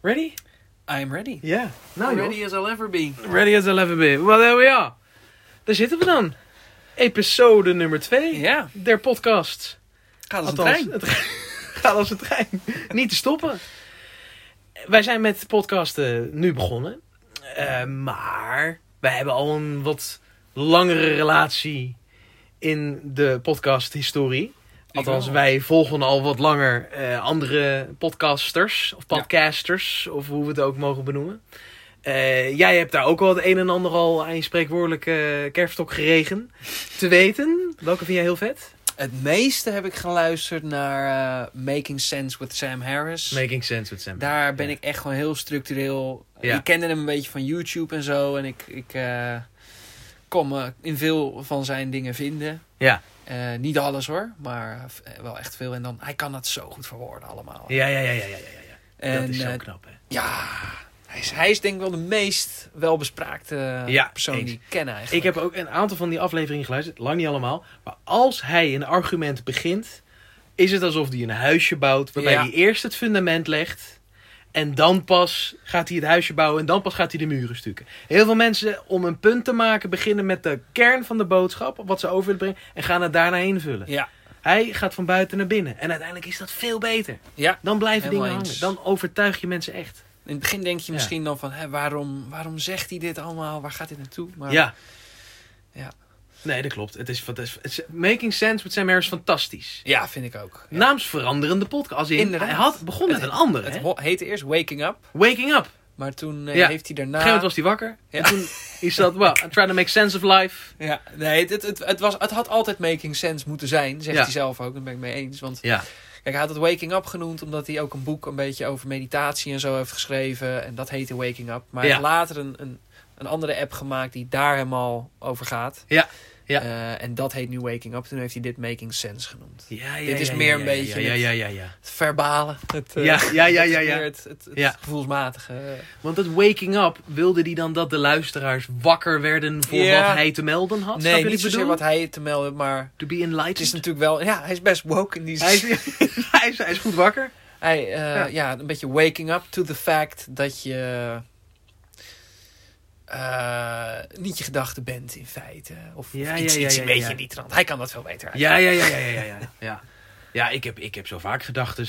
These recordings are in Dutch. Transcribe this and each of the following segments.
Ready? I'm ready. Ja. Nou, joh. ready as I'll ever be. Ready as I'll ever be. Well, there we are. Daar zitten we dan. Episode nummer 2 Ja, der podcast. gaat als een Althans, trein. het gaat als een trein. Niet te stoppen. Wij zijn met podcasten nu begonnen. Eh, maar wij hebben al een wat langere relatie in de podcasthistorie. Althans, wel. wij volgen al wat langer eh, andere podcasters of podcasters, of hoe we het ook mogen benoemen. Eh, jij hebt daar ook wel het een en ander al aan je spreekwoordelijke kerfstok geregen. Te weten, welke vind jij heel vet? Het meeste heb ik geluisterd naar eh, Making Sense with Sam Harris. Making Sense with Sam. Daar ben Ja. ik echt gewoon heel structureel. Ja. Ik kende hem een beetje van YouTube en zo. En ik, ik eh, kon me in veel van zijn dingen vinden. Ja. Eh, niet alles hoor, maar eh, wel echt veel. En dan, hij kan dat zo goed verwoorden allemaal. Ja, ja, ja, ja, ja, ja. ja. en, dat is zo eh, knap, hè? ja hij, is, hij is denk ik wel de meest welbespraakte Ja, persoon eens. die ik ken eigenlijk. Ik heb ook een aantal van die afleveringen geluisterd, lang niet allemaal. Maar als hij een argument begint, is het alsof hij een huisje bouwt. Waarbij Ja. hij eerst het fundament legt. En dan pas gaat hij het huisje bouwen en dan pas gaat hij de muren stukken. Heel veel mensen, om een punt te maken, beginnen met de kern van de boodschap, wat ze over willen brengen, en gaan het daarna invullen. Ja, Hij gaat van buiten naar binnen. En uiteindelijk is dat veel beter. ja. Dan blijven Helemaal dingen hangen. eens. Dan overtuig je mensen echt. In het begin denk je Ja. misschien dan van, hè, waarom, waarom zegt hij dit allemaal? Waar gaat dit naartoe? Maar Ja. Ja. Nee, dat klopt. Het is, fant- het is- Making Sense met Sam Harris is fantastisch. Ja, vind ik ook. Ja. Naamsveranderende podcast. Als in, Inderdaad. Hij had begon met Het- een ander. Het Nou, hè? ho- heette eerst Waking Up, Waking up. Op een gegeven maar toen eh, Ja. heeft hij daarna... moment was hij wakker. Ja. En toen is dat, well, I'm trying to make sense of life. Ja, nee, het, het, het, het was, het had altijd Making Sense moeten zijn, zegt Ja. hij zelf ook. Daar ben ik mee eens. Want Ja. kijk, hij had het Waking Up genoemd omdat hij ook een boek een beetje over meditatie en zo heeft geschreven. En dat heette Waking Up. Maar hij Ja. heeft later een, een, een andere app gemaakt die daar helemaal over gaat. Ja. Ja. Eh, en dat heet nu Waking Up. Toen heeft hij dit Making Sense genoemd. ja, ja Dit is ja, meer ja, een ja, beetje Ja, het- ja, ja, ja. Het verbale. Het, eh, Ja, ja, ja, ja, het is ja. meer Het, het, het Ja. gevoelsmatige. Want dat waking up, wilde die dan dat de luisteraars wakker werden voor Ja. wat hij te melden had? Snap je nee, wat niet ik zozeer bedoel? wat hij te melden heeft, maar To be het is enlightened. natuurlijk wel... Ja, hij is best woke in die zin. Hij is, hij, is, hij is goed wakker. Hij, eh, Ja. ja. een beetje waking up to the fact dat je eh, niet je gedachte bent in feite. Of, Ja, of ja, iets, ja, iets ja, een beetje ja. in die trant. Hij kan dat veel beter. eigenlijk. Ja, ja, ja, ja, ja, ja. Ja, ja ik, heb, ik heb zo vaak gedachten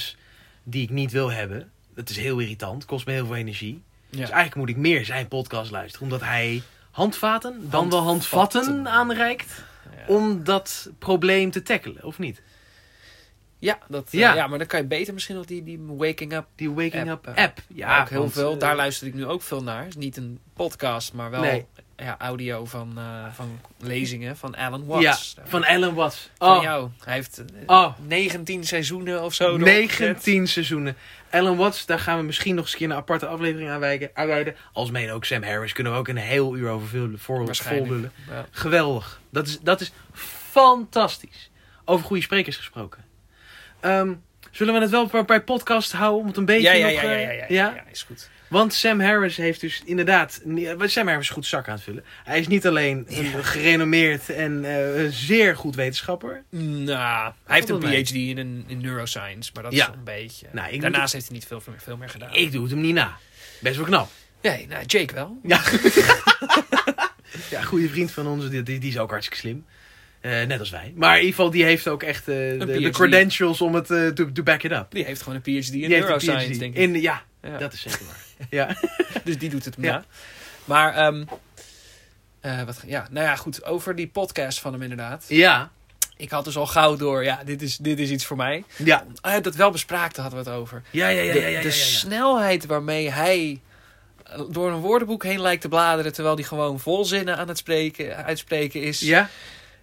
die ik niet wil hebben. Dat is heel irritant, kost me heel veel energie. Dus Ja. eigenlijk moet ik meer zijn podcast luisteren. Omdat hij handvaten, dan wel Handvatten. handvatten aanreikt. Ja. Om dat probleem te tackelen, of niet? Ja, dat, eh, Ja. ja. maar dan kan je beter misschien nog die, die waking up Die Waking App, Up eh, app. Ja, ook heel want, veel. eh, Daar luister ik nu ook veel naar. Het is niet een podcast, maar wel Nee. ja, audio van, eh, van lezingen van Alan Ja, Watts. Eh, van Alan Watts. Van Oh, jou. Hij heeft eh, Oh. 19 seizoenen of zo. erop gezet. 19 seizoenen. Alan Watts, daar gaan we misschien nog eens een keer een aparte aflevering aan wijken- aanwijden. Alsmede ook Sam Harris kunnen we ook een heel uur over veel- voor- Waarschijnlijk. volbullen. Ja. Geweldig. Dat is, dat is fantastisch. Over goede sprekers gesproken. Ehm, zullen we het wel bij, bij podcast houden om het een beetje Ja, ja, nog... ja, ja, eh, ja, ja, ja, is goed. Want Sam Harris heeft dus inderdaad... nee, maar Sam Harris is goed zak aan het vullen. Hij is niet alleen een gerenommeerd en eh, een zeer goed wetenschapper. Nou, hij heeft een Valt wel mee. PhD in, een- in neuroscience, maar dat Ja. is een beetje. Nou, ik Daarnaast heeft hij niet veel, meer- veel meer gedaan. Ik doe het hem niet na. Best wel knap. Nee, nou, Jake wel. Ja. ja, een goede vriend van ons, die, die, die is ook hartstikke slim. Eh, net als wij. Maar in ieder geval, die heeft ook echt eh, de, de PhD. credentials om het eh, to, to back it up. Die heeft gewoon een PhD in Die heeft een neuroscience, PhD. denk ik. In, ja, Ja. dat is zeker waar. ja. Dus die doet het hem Ja. na. Maar, ehm, eh, wat, ja, nou ja, goed. Over die podcast van hem inderdaad. ja, Ik had dus al gauw door, ja, dit is, dit is iets voor mij. ja. Ah, dat wel bespraakte hadden we het over. Ja, ja, ja, de, ja, ja, de ja, ja. snelheid waarmee hij eh, door een woordenboek heen lijkt te bladeren... terwijl hij gewoon volzinnen aan het spreken, uitspreken is... Ja?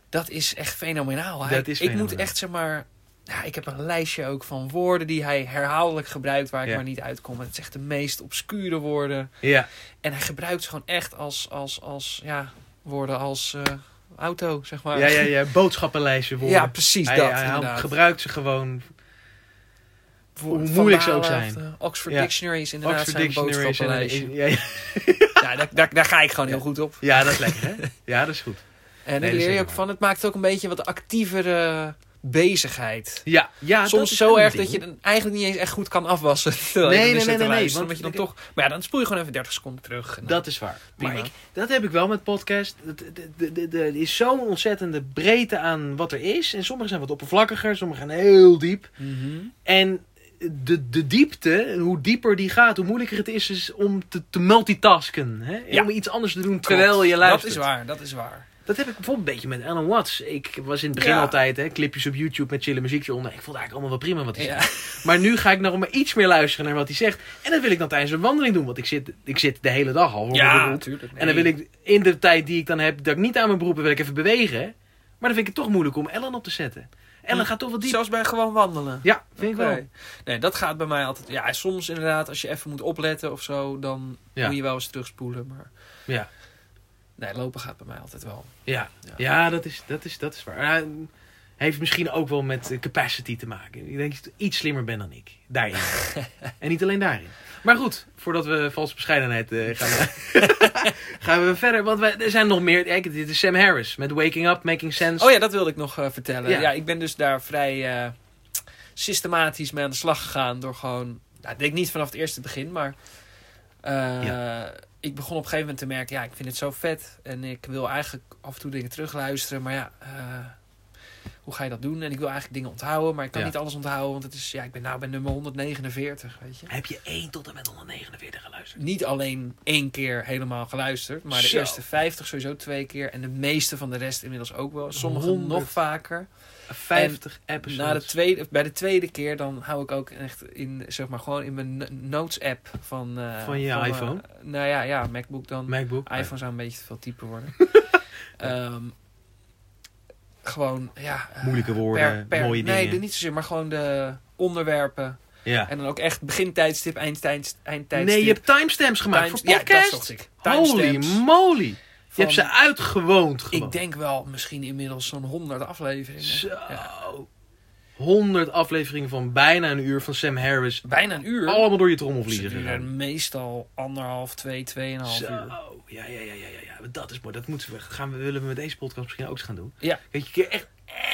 Dat is echt fenomenaal. Hij- Dat is Ik moet fenomenaal. echt zeg maar. Ja, ik heb een lijstje ook van woorden die hij herhaaldelijk gebruikt waar ik Ja. maar niet uitkom. Het is echt de meest obscure woorden. Ja. En hij gebruikt ze gewoon echt als, als, als ja, woorden als eh, auto, zeg maar. ja, ja, ja. Boodschappenlijstje worden. Ja, precies hij, dat. hij inderdaad. gebruikt ze gewoon. Voor- hoe Van moeilijk ze ook Dalen zijn. of de Oxford Ja. Dictionary is inderdaad Oxford zijn Dictionaries. En, boodschappenlijstje. ja, ja. Ja, daar, daar, daar ga ik gewoon heel goed op. ja, dat is lekker, hè? Ja, dat is goed. En Nee, daar dat is leer je ook helemaal van. Het maakt ook een beetje wat actievere bezigheid. Ja, ja dat Soms is zo een erg ding. dat je het eigenlijk niet eens echt goed kan afwassen. Terwijl Nee, je nee, er nee, zit te nee, nee, luisteren, want omdat je dan toch... Maar ja, dan spoel je gewoon even 30 seconden terug. En dan- Dat is waar. Maar Prima. ik, dat heb ik wel met podcast. Het- het- het- het- het- Er is zo'n ontzettende breedte aan wat er is. En sommige zijn wat oppervlakkiger, sommige gaan heel diep. Mhm. En de, de diepte, hoe dieper die gaat, hoe moeilijker het is, is om te, te multitasken. Hè? Ja. Om iets anders te doen Klopt. terwijl je luistert. Dat is waar, dat is waar. Dat heb ik bijvoorbeeld een beetje met Alan Watts. Ik was in het begin Ja. altijd hè, clipjes op YouTube met chille muziek eronder. Ik vond eigenlijk allemaal wel prima wat hij Ja. zei. Maar nu ga ik nog maar iets meer luisteren naar wat hij zegt. En dat wil ik dan tijdens een wandeling doen. Want ik zit, ik zit de hele dag al. hoor, Ja, bijvoorbeeld. natuurlijk. En dan wil ik in de tijd die ik dan heb, dat ik niet aan mijn beroep ben, wil ik even bewegen. Maar dan vind ik het toch moeilijk om Ellen op te zetten. Ellen Hm. gaat toch wat diep. Zelfs bij gewoon wandelen. Ja, vind ik wel. Oké. Nee, dat gaat bij mij altijd. Ja, soms inderdaad, als je even moet opletten of zo, dan Ja. moet je wel eens terugspoelen. Maar Ja. nee, lopen gaat bij mij altijd wel. Ja, Ja. ja. dat, is, dat, is, dat is waar. Ja, heeft misschien ook wel met eh, capacity te maken. Ik denk dat je iets slimmer bent dan ik. Daarin. en niet alleen daarin. Maar goed, voordat we valse bescheidenheid eh, gaan, eh, gaan we verder. Want wij, er zijn nog meer. Kijk, dit is Sam Harris met Waking Up, Making Sense. Oh ja, dat wilde ik nog eh, vertellen. Ja. Dus- Ja. ik ben dus daar vrij eh, systematisch mee aan de slag gegaan door gewoon. Nou, ik denk niet vanaf het eerste begin, maar eh, ik begon op een gegeven moment te merken, ja, ik vind het zo vet en ik wil eigenlijk af en toe dingen terugluisteren, maar ja. eh, hoe ga je dat doen? En ik wil eigenlijk dingen onthouden, maar ik kan Ja. niet alles onthouden, want het is, ja, ik ben nou bij nummer 149, weet je. Heb je 1 tot en met 149 geluisterd? niet alleen één keer helemaal geluisterd, maar de Zo. eerste 50 sowieso twee keer en de meeste van de rest inmiddels ook wel. Sommigen Honderd. nog vaker. 50 Na de episodes. tweede, bij de tweede keer dan hou ik ook echt in zeg maar gewoon in mijn n- notes app van eh, Van je mijn- iPhone? nou ja, ja, MacBook dan. MacBook. iPhone zou een beetje te veel typen worden. Ehm, gewoon ja. eh, Moeilijke woorden, mooie nee, dingen. niet zozeer, maar gewoon de onderwerpen Ja. en dan ook echt begintijdstip, eindtijd, eindtijdstip. Nee, je hebt timestamps gemaakt Times- voor Ja, dat podcast. zocht ik. Holy Timestamps moly. Je van- hebt ze uitgewoond gewoon. Ik denk wel misschien inmiddels zo'n 100 afleveringen. Zo. 100 afleveringen van bijna een uur van Sam Harris. Bijna een uur. Allemaal door je Ze trommelvliezen gegaan. duren meestal anderhalf, twee, tweeënhalf Zo. uur. Ja, ja, ja, ja, ja, ja. Dat is mooi. Dat moeten we, gaan we, willen we met deze podcast misschien ook eens gaan doen. Ja. Weet je, echt,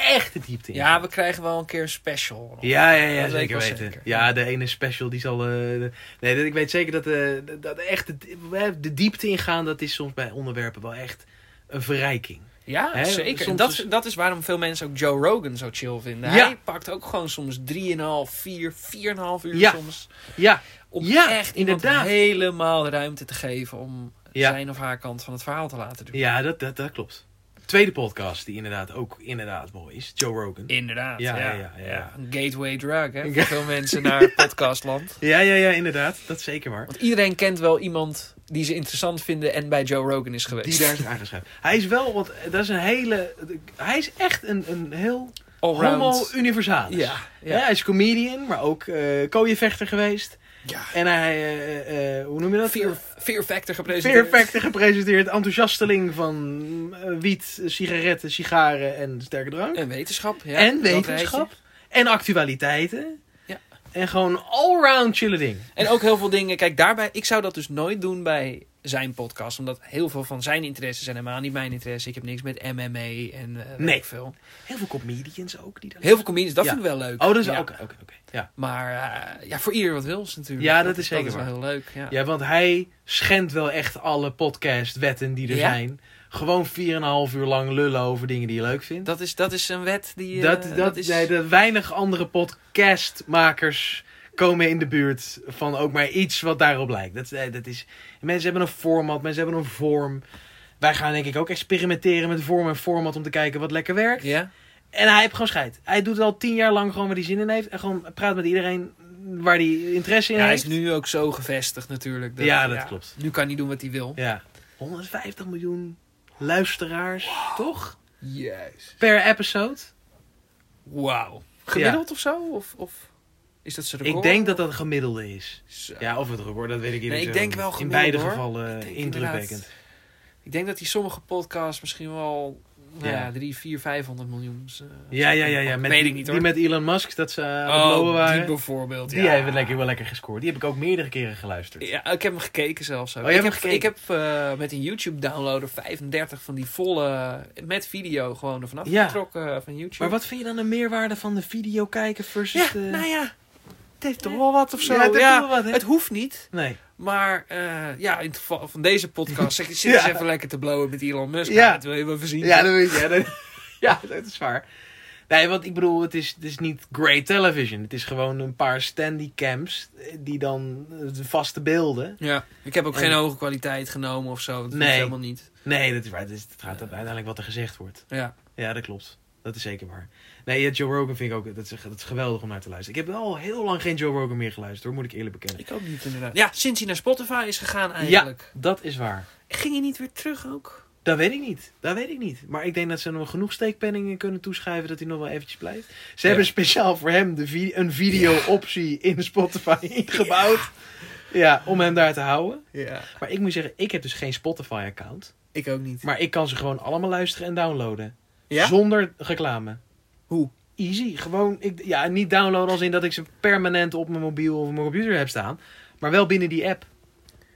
echt de diepte in. Ja, we krijgen wel een keer een special. Ja, ja, ja, Dat weet ik zeker wel weten. zeker. Ja, de ene special die zal... eh, de- nee, dat- ik weet zeker dat, eh, dat echt de, de diepte ingaan... dat is soms bij onderwerpen wel echt een verrijking. Ja, Hè, zeker. En soms dat, is- dat is waarom veel mensen ook Joe Rogan zo chill vinden. Ja. Hij pakt ook gewoon soms 3,5, 4, 4,5 uur Ja. soms. Ja, Om Ja, echt iemand inderdaad. helemaal de ruimte te geven om Ja. zijn of haar kant van het verhaal te laten doen. ja dat, dat, dat klopt. Tweede podcast die inderdaad ook inderdaad mooi is. Joe Rogan. Inderdaad. Ja, Ja, ja, ja, ja, ja. Een gateway drug, hè? Voor veel mensen naar podcastland. Ja, ja, ja, inderdaad. Dat is zeker waar. Want iedereen kent wel iemand die ze interessant vinden en bij Joe Rogan is geweest. Die daar is aangeschreven. Hij is wel, want eh, dat is een hele... Hij is echt een, een heel Allround. homo-universalis. Ja, Ja. ja. hij is comedian, maar ook eh kooienvechter geweest. ja. En hij, eh, eh, hoe noem je dat? Fear, fear Factor gepresenteerd. Fear Factor gepresenteerd. Enthousiasteling van eh, wiet, sigaretten, sigaren en sterke drank. En wetenschap. Ja, en dat wetenschap. En actualiteiten. Ja. En gewoon allround chille ding. rijtje. En ook heel veel dingen. Kijk, daarbij, ik zou dat dus nooit doen bij zijn podcast. Omdat heel veel van zijn interesses zijn helemaal niet mijn interesse. Ik heb niks met MMA en eh, weet Nee. ik veel. Heel veel comedians ook. Die daar... Heel veel comedians, dat Ja. vind ik wel leuk. Oh, dat is Ja. oké. oké, oké. Ja. Maar eh, ja, voor ieder wat wils natuurlijk. Ja, dat is zeker Dat is waar. wel heel leuk. Ja. Ja, want hij schendt wel echt alle podcastwetten die er Ja. zijn. Gewoon 4,5 uur lang lullen over dingen die je leuk vindt. Dat, is, dat is een wet die... eh, dat, dat, is... nee, de weinig andere podcastmakers komen in de buurt van ook maar iets wat daarop lijkt. Dat, nee, dat is, mensen hebben een format, mensen hebben een vorm. Wij gaan denk ik ook experimenteren met vorm en format om te kijken wat lekker werkt. Ja? En hij heeft gewoon scheid. Hij doet al tien jaar lang gewoon waar hij zin in heeft. En gewoon praat met iedereen waar hij interesse in Ja, hij heeft. is nu ook zo gevestigd natuurlijk. Ja, dat klopt. Nu kan hij doen wat hij wil. Ja. 150 miljoen luisteraars, toch? Juist. Per episode. Wauw. Gemiddeld of zo? Of, of is dat zijn Ik record? denk dat dat een gemiddelde is. Zo. Ja, of het record, dat weet ik niet. Nee, ik denk wel In gemiddeld, beide hoor. gevallen denk indrukwekkend. Ik denk dat hij sommige podcasts misschien wel nou Ja. ja, 3, 4, 500 miljoen. Dus, eh, Ja, ja, ja. ja. dat Met, weet die- ik niet Die hoor. met Elon Musk, dat ze aan het blowen oh, die waren. bijvoorbeeld. Die ja. hebben lekker, wel lekker gescoord. Die heb ik ook meerdere keren geluisterd. Ja, ik heb hem gekeken zelfs. ook. Oh, je ik, hebt heb, hem ik heb eh, met een YouTube-downloader 35 van die volle, met video gewoon ervan Ja. afgetrokken eh, van YouTube. Maar wat vind je dan de meerwaarde van de video kijken versus Ja, de... nou ja, het heeft toch wel wat of zo. Ja, dat Ja, doet wel wat, hè? het hoeft niet. Nee. Maar eh, ja, in het geval van deze podcast zeg ik, zit Ja. eens even lekker te blowen met Elon Musk. Ja. Ja. Dat wil je wel even zien. Ja, dat weet je. Ja, dat, ja, dat is waar. Nee, want ik bedoel, het is, het is niet great television. Het is gewoon een paar standy cams die dan eh, de vaste beelden. Ja, ik heb ook En- geen hoge kwaliteit genomen of zo. Dat Nee. nee. helemaal niet. Nee, dat is waar. Het, is, het gaat uiteindelijk wat er gezegd wordt. Ja. Ja, dat klopt. Dat is zeker waar. Nee, ja, Joe Rogan vind ik ook, dat is, dat is geweldig om naar te luisteren. Ik heb al heel lang geen Joe Rogan meer geluisterd hoor, moet ik eerlijk bekennen. Ik ook niet inderdaad. Ja, sinds hij naar Spotify is gegaan Ja, eigenlijk. dat is waar. Ging hij niet weer terug ook? Dat weet ik niet. Dat weet ik niet. Maar ik denk dat ze hem genoeg steekpenningen kunnen toeschrijven dat hij nog wel eventjes blijft. Ze hebben speciaal voor hem de vi- een video-optie in Spotify ingebouwd. Ja, om hem daar te houden. Ja. Maar ik moet zeggen, ik heb dus geen Spotify-account. Ik ook niet. Maar ik kan ze gewoon allemaal luisteren en downloaden. Ja? Zonder reclame. Hoe? Easy. Gewoon, ik, ja, niet downloaden als in dat ik ze permanent op mijn mobiel of mijn computer heb staan. Maar wel binnen die app.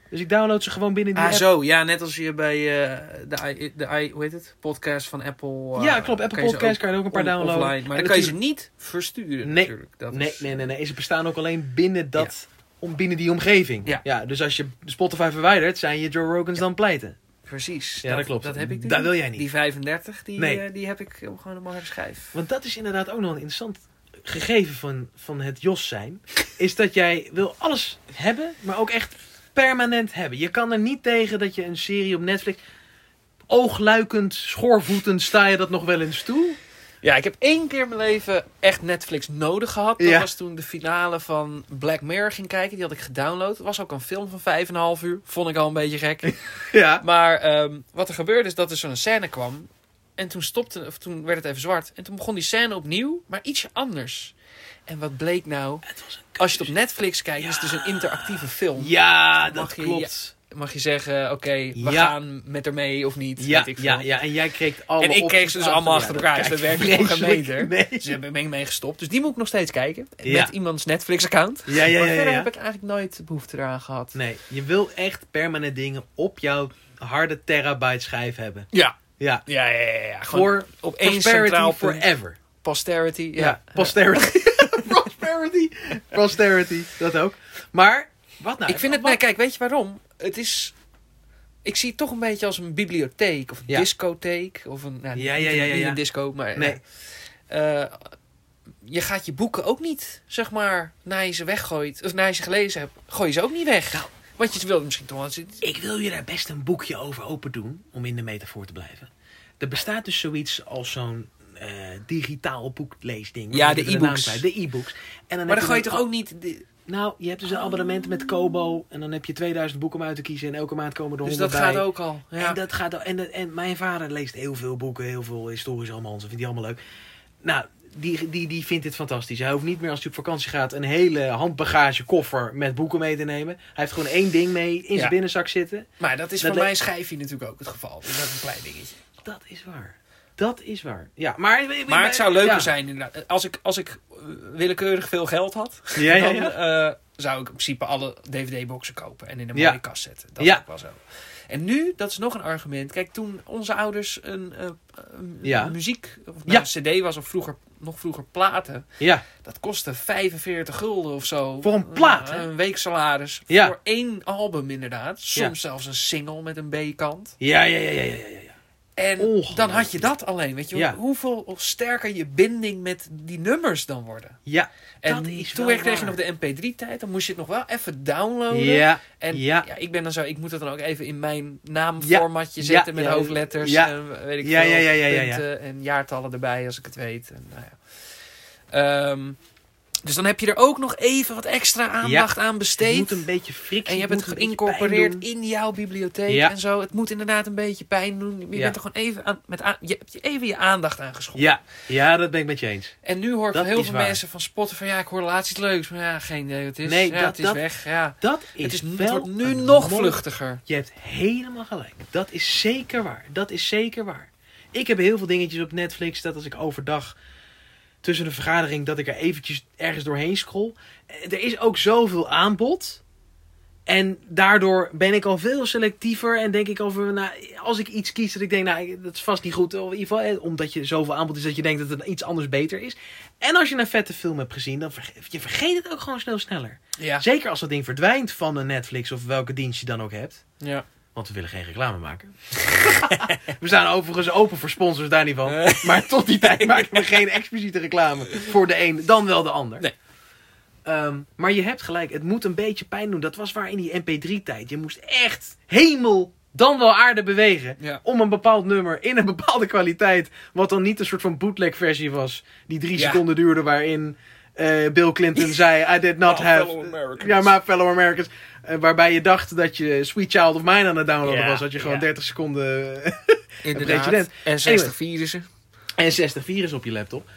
Dus ik download ze gewoon binnen die Ah, app. zo. Ja, net als je bij eh, de, i- de i- hoe heet het? podcast van Apple. eh, ja, klopt. Apple kan je ze Podcast ook kan je ook een paar on- downloaden. Offline, maar En dan kan je ze niet versturen Nee. natuurlijk. Dat Nee, is- nee, nee, nee. Ze bestaan ook alleen binnen, dat, om, binnen die omgeving. Ja. dus als je Spotify verwijdert, zijn je Joe Rogans dan pleiten. Precies. Ja, dat klopt. Dat heb ik Dat dus wil jij niet. Die 35, die, Nee. eh, die heb ik op gewoon een mooie schijf. Want dat is inderdaad ook nog een interessant gegeven van, van het Jos zijn. Is dat jij wil alles hebben, maar ook echt permanent hebben. Je kan er niet tegen dat je een serie op Netflix... Oogluikend, schoorvoetend sta je dat nog wel eens toe. Ja, ik heb één keer in mijn leven echt Netflix nodig gehad. Dat Ja. was toen de finale van Black Mirror ging kijken. Die had ik gedownload. Het was ook een film van 5,5 uur. Vond ik al een beetje gek. Ja. Maar ehm, wat er gebeurde is dat er zo'n scène kwam. En toen, stopte, of toen werd het even zwart. En toen begon die scène opnieuw, maar ietsje anders. En wat bleek nou? Het was een Als je het op Netflix kijkt, is het dus een interactieve film. ja, dat Mag je- klopt. Mag je zeggen, oké, we Ja. gaan met haar mee of niet? Ja, weet ik ja, veel. ja, en jij kreeg alle En ik kreeg opties ze dus allemaal achter elkaar, dus dat dat werkt werkte nog geen vreselijk. meter. Nee. Dus daar ben ik mee gestopt. Dus die moet ik nog steeds kijken. Ja. Met iemands Netflix-account. Ja, ja, Maar ja, ja, verder ja. heb ik eigenlijk nooit behoefte eraan gehad. Nee, je wil echt permanent dingen op jouw harde terabyte schijf hebben. Ja. Ja, Ja, ja, ja. ja. Gewoon voor op één prosperity centraal punt. forever. e- Posterity. Ja, Ja. posterity. prosperity. Prosperity, dat ook. Maar, wat nou? ik vind het, wat- nee, kijk, weet je waarom? Het is, ik zie het toch een beetje als een bibliotheek of een Ja. discotheek of een, nou, Ja, ja, ja, ja, niet ja. een disco, maar Nee. eh, eh, je gaat je boeken ook niet, zeg maar, na je ze weggooit of na je ze gelezen hebt, gooi je ze ook niet weg. Nou. Want je wilde misschien toch wel eens- Ik wil je daar best een boekje over open doen, om in de metafoor te blijven. Er bestaat dus zoiets als zo'n eh, digitaal boekleesding. Ja, Ik de ben naam e-books. kwijt. nou De e-books. En dan Maar heb dan gooi je dan- toch ook niet. de- Nou, je hebt dus een abonnement met Kobo. En dan heb je 2000 boeken om uit te kiezen. En elke maand komen er Dus 100 dat bij. gaat ook al. Ja. En, dat gaat, en, dat- en mijn vader leest heel veel boeken, heel veel historische romansen, vindt die allemaal leuk. Nou, die, die, die vindt dit fantastisch. Hij hoeft niet meer als hij op vakantie gaat een hele handbagage koffer met boeken mee te nemen. Hij heeft gewoon één ding mee in zijn Ja. binnenzak zitten. Maar dat is dat voor le- mijn schijfje natuurlijk ook het geval. Dus dat is een klein dingetje. Dat is waar. Dat is waar. Ja, maar, Maar het zou leuker ja. zijn inderdaad. Als ik, als ik eh, willekeurig veel geld had, Ja, ja, dan ja. eh, zou ik in principe alle DVD-boxen kopen en in een Ja. mooie kast zetten. Dat Ja. is ook wel zo. En nu, dat is nog een argument. Kijk, toen onze ouders een, eh, een Ja. muziek, of Ja. nou, een cd was of vroeger, nog vroeger platen, Ja, dat kostte 45 gulden of zo. Voor een plaat, Eh, hè? Een week salaris. Ja. Voor één album inderdaad. Soms zelfs een single met een B-kant. ja, ja, ja, ja, ja, ja. ja. En Ongelooflijk. dan had je dat alleen, weet je wel. Oh, nou, Ja. Hoeveel sterker je binding met die nummers dan worden. Ja, En Dat is toen wel kreeg je waar. nog de mp3-tijd, dan moest je het nog wel even downloaden. ja. En ja. ja. ik ben dan zo, ik moet het dan ook even in mijn naamformatje Ja, zetten ja, met ja. hoofdletters Ja. en weet ik Ja, veel, ja, ja, ja, ja, ja. punten en jaartallen erbij als ik het weet. En, nou ja. Ehm, dus dan heb je er ook nog even wat extra aandacht aan Je besteed. moet een beetje frictie. En je hebt moet het een beetje pijn geïncorporeerd doen. in jouw bibliotheek Ja. en zo. Het moet inderdaad een beetje pijn doen. Je Ja. bent er gewoon even aan, met aan- je hebt je even je aandacht aan geschoten. Ja, ja, dat ben ik met je eens. En nu hoor ik Dat van heel is veel waar. mensen van Spotify, ja, ik hoor laatst iets leuks, maar ja, geen idee wat het is. Nee, ja, dat- het is dat- weg. Ja. Dat is, het, is, het wel wordt nu een nog mooi- vluchtiger. Je hebt helemaal gelijk. Dat is zeker waar. Dat is zeker waar. Ik heb heel veel dingetjes op Netflix dat als ik overdag tussen de vergadering dat ik er eventjes ergens doorheen scroll. Eh, Er is ook zoveel aanbod. En daardoor ben ik al veel selectiever en denk ik over, nou, als ik iets kies dat ik denk, nou, dat is vast niet goed. Of in ieder geval, eh, omdat je zoveel aanbod is dat je denkt dat het iets anders beter is. En als je een vette film hebt gezien, dan verge- je vergeet het ook gewoon snel sneller. Ja. Zeker als dat ding verdwijnt van een Netflix of welke dienst je dan ook hebt. ja. Want we willen geen reclame maken. we staan overigens open voor sponsors daar niet van. Maar tot die tijd maken we geen expliciete reclame voor de een, dan wel de ander. Nee. Ehm, maar je hebt gelijk, het moet een beetje pijn doen. Dat was waar in die MP3-tijd. Je moest echt hemel, dan wel aarde bewegen. Ja. Om een bepaald nummer in een bepaalde kwaliteit. Wat dan niet een soort van bootleg-versie was. Die drie Ja. seconden duurde waarin eh, Bill Clinton zei: I did not My have. Ah, fellow Americans. Ja, maar fellow Americans. Eh, waarbij je dacht dat je Sweet Child of Mine aan het downloaden Ja, was. Dat je gewoon ja. 30 seconden Inderdaad. En 60 virussen. en 60 virus op je laptop.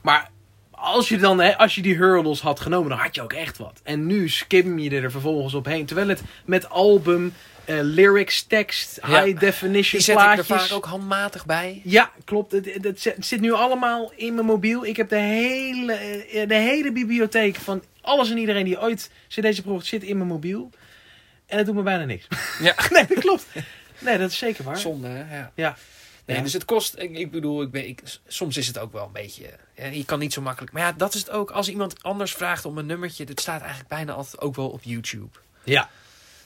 Maar als je, dan, hè, als je die hurdles had genomen, dan had je ook echt wat. En nu skim je er vervolgens op heen. Terwijl het met album, eh, lyrics, tekst, Ja. high Die definition zet ik er vaak plaatjes. ook handmatig bij. Ja, klopt. Het, het, het zit- het zit nu allemaal in mijn mobiel. Ik heb de hele, eh, de hele bibliotheek van alles en iedereen die ooit cd's heeft zit in mijn mobiel. En het doet me bijna niks. Ja. nee, dat klopt. Nee, dat is zeker waar. Zonde, hè? Ja. Ja. Nee, Ja. Dus het kost, ik, ik bedoel, ik ben, ik, soms is het ook wel een beetje, hè, je kan niet zo makkelijk. Maar ja, dat is het ook. Als iemand anders vraagt om een nummertje, dat staat eigenlijk bijna altijd ook wel op YouTube. Ja.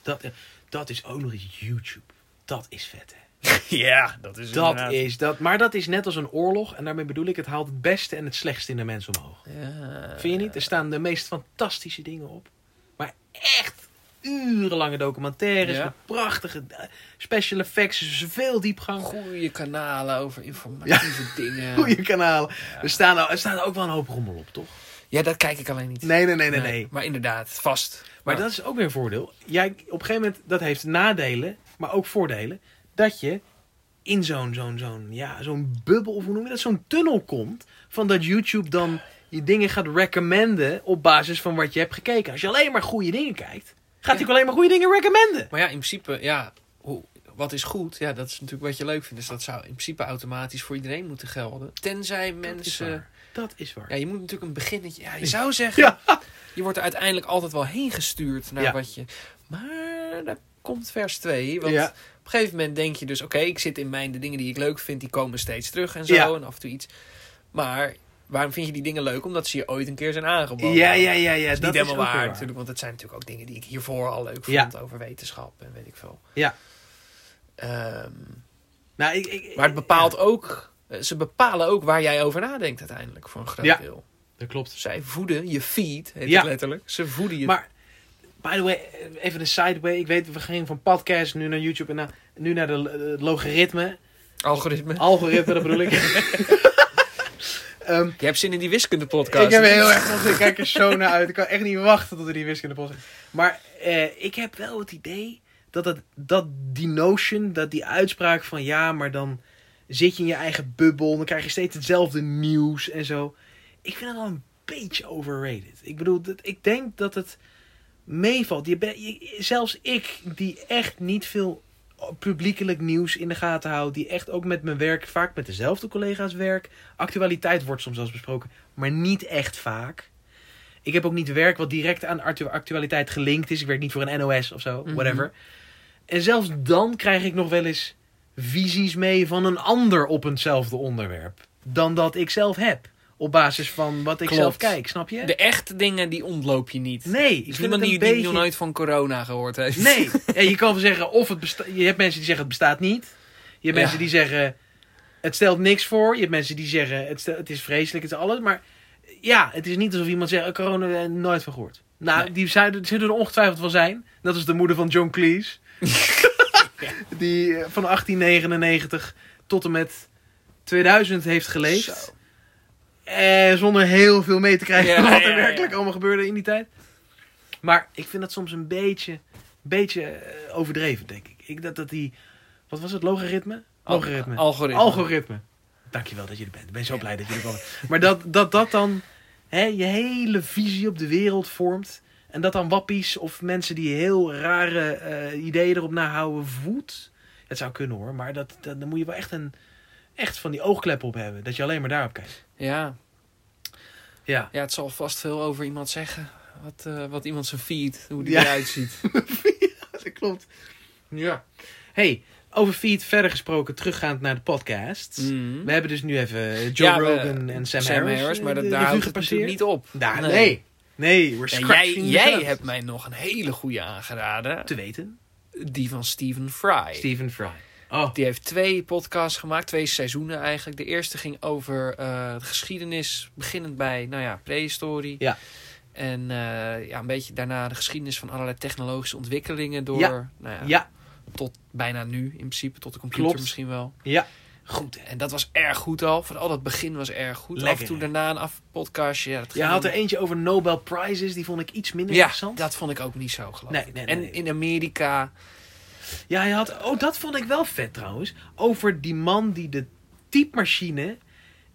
Dat, eh, dat is ook nog eens YouTube. Dat is vet, hè. ja, dat is Dat is dat. Maar dat is net als een oorlog. En daarmee bedoel ik, het haalt het beste en het slechtste in de mens omhoog. Ja. Vind je niet? Er staan de meest fantastische dingen op. Maar echt urenlange documentaires. Ja. Met prachtige eh, special effects. Dus veel diepgang. Goede kanalen over informatieve dingen. Goeie kanalen. Er, staan, er staan ook wel een hoop rommel op, toch? Ja, dat kijk ik alleen niet. Nee, nee, nee, nee, nee. Maar inderdaad, vast. Maar Ja. dat is ook weer een voordeel. Jij, op een gegeven moment, dat heeft nadelen, maar ook voordelen. Dat je in zo'n zo'n zo'n ja, zo'n bubbel, of hoe noem je dat, zo'n tunnel komt. Van dat YouTube dan je dingen gaat recommenden op basis van wat je hebt gekeken. Als je alleen maar goede dingen kijkt, gaat hij ook alleen maar goede dingen recommenden. Maar ja, in principe, ja, hoe, wat is goed? Ja, dat is natuurlijk wat je leuk vindt. Dus dat zou in principe automatisch voor iedereen moeten gelden. Tenzij Dat is mensen... waar. Dat is waar. Ja, je moet natuurlijk een beginnetje... Ja, je zou zeggen, Ja. je wordt er uiteindelijk altijd wel heen gestuurd naar Ja. wat je... Maar daar komt vers 2. Want Ja. op een gegeven moment denk je dus... Oké, ik zit in mijn... De dingen die ik leuk vind, die komen steeds terug en zo. Ja. En af en toe iets. Maar waarom vind je die dingen leuk? Omdat ze je ooit een keer zijn aangeboden. Ja, ja, ja, ja. Dat is niet helemaal ook weer waar, natuurlijk, want het zijn natuurlijk ook dingen die ik hiervoor al leuk Ja. vond over wetenschap en weet ik veel. Ja. Ehm, Nou, ik, ik, maar het bepaalt ook, eh, ze bepalen ook waar jij over nadenkt uiteindelijk voor een groot Ja. deel. Dat klopt. Zij voeden je feed, heet Ja. het letterlijk. Ze voeden je. Maar, by the way, even een sideway. Ik weet, we gingen van podcast nu naar YouTube en na- nu naar de eh, logaritme. algoritme. Algoritme, dat bedoel ik. Ehm, Je hebt zin in die wiskunde podcast. ik heb er heel erg van zin. Kijk er zo naar uit. Ik kan echt niet wachten tot we die wiskunde posten. Maar eh, ik heb wel het idee dat, het, dat die notion, dat die uitspraak van ja, maar dan zit je in je eigen bubbel. Dan krijg je steeds hetzelfde nieuws en zo. Ik vind dat wel een beetje overrated. Ik bedoel, dat, ik denk dat het meevalt. Je bent- je- zelfs ik, die echt niet veel publiekelijk nieuws in de gaten houd, die echt ook met mijn werk, vaak met dezelfde collega's werk. Actualiteit wordt soms zelfs besproken, maar niet echt vaak. Ik heb ook niet werk wat direct aan actu- actualiteit gelinkt is. Ik werk niet voor een NOS of zo, Mhm. whatever. En zelfs dan krijg ik nog wel eens visies mee van een ander op eenzelfde onderwerp. Dan dat ik zelf heb. Op basis van wat ik Klopt. zelf kijk, snap je? De echte dingen, die ontloop je niet. Nee, ik is vind het niemand die, een die beetje... nog nooit van corona gehoord heeft. Nee, ja, je kan wel zeggen of het bestaat. Je hebt mensen die zeggen het bestaat niet. Je hebt Ja. mensen die zeggen het stelt niks voor. Je hebt mensen die zeggen het, stel- het is vreselijk, het is alles. Maar ja, het is niet alsof iemand zegt eh, corona eh, nooit van gehoord. Nou, Nee. die zouden, zullen er ongetwijfeld wel zijn. Dat is de moeder van John Cleese. Die eh, van 1899 tot en met 2000 heeft geleefd. Zo. Eh, zonder heel veel mee te krijgen Ja, wat er ja, ja. werkelijk allemaal gebeurde in die tijd. Maar ik vind dat soms een beetje, beetje eh, overdreven, denk ik. ik dat, dat die, wat was het, logaritme? Al- Algoritme. Algoritme. Algoritme. Dankjewel dat je er bent. Ik ben zo blij dat je er bent. Maar dat dat, dat dan hè, je hele visie op de wereld vormt. En dat dan wappies of mensen die heel rare eh, ideeën erop nahouden voedt. Het zou kunnen hoor, maar dat, dat, dan moet je wel echt een, echt van die oogkleppen op hebben. Dat je alleen maar daarop kijkt. Ja. Ja. ja, het zal vast veel over iemand zeggen. Wat, eh, wat iemand zijn feed, hoe die Ja. eruit ziet. dat klopt. Ja. hey, over feed verder gesproken, teruggaand naar de podcasts. Mhm. We hebben dus nu even Joe Ja, we- Rogan en Sam, Harris. maar eh, dat, de revue daar houdt het natuurlijk niet op. Nou, nee. nee. we're Ja, jij scratching the jij surface. hebt mij nog een hele goede aangeraden. te weten. Die van Stephen Fry. Stephen Fry. Oh, Die heeft twee podcasts gemaakt, twee seizoenen eigenlijk. De eerste ging over eh, de geschiedenis, beginnend bij, nou ja, prehistorie. Ja. En eh, ja, een beetje daarna de geschiedenis van allerlei technologische ontwikkelingen door, Ja. Nou ja, ja, tot bijna nu in principe, tot de computer Klopt. misschien wel. ja. Goed. hè. En dat was erg goed al. Van al dat begin was erg goed. Lekker, Af en toe hè? daarna een afpodcastje. Ja, dat Je ging- had er eentje over Nobel Prizes, die vond ik iets minder ja, interessant. dat vond ik ook niet zo geloof Nee, ik. nee, nee, en nee. in Amerika. Ja, hij had. Oh, dat vond ik wel vet trouwens. Over die man die de typemachine.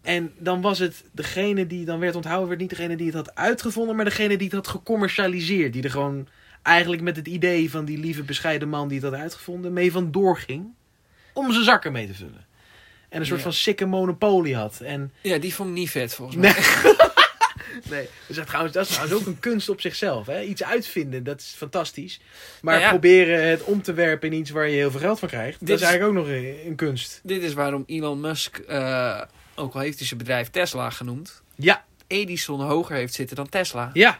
En dan was het degene die dan werd onthouden, werd niet degene die het had uitgevonden, maar degene die het had gecommercialiseerd. Die er gewoon eigenlijk met het idee van die lieve bescheiden man die het had uitgevonden, mee van doorging. Om zijn zakken mee te vullen. En een soort Ja. van sikke monopolie had. En Ja, die vond ik niet vet volgens mij. Nee. nee. Dus dat, trouwens, dat is trouwens ook een kunst op zichzelf. Hè? Iets uitvinden, dat is fantastisch. Maar Nou ja. proberen het om te werpen in iets waar je heel veel geld van krijgt, Dit dat is is- eigenlijk ook nog een, een kunst. Dit is waarom Elon Musk, eh, ook al heeft hij zijn bedrijf Tesla genoemd, Ja, Edison hoger heeft zitten dan Tesla. ja.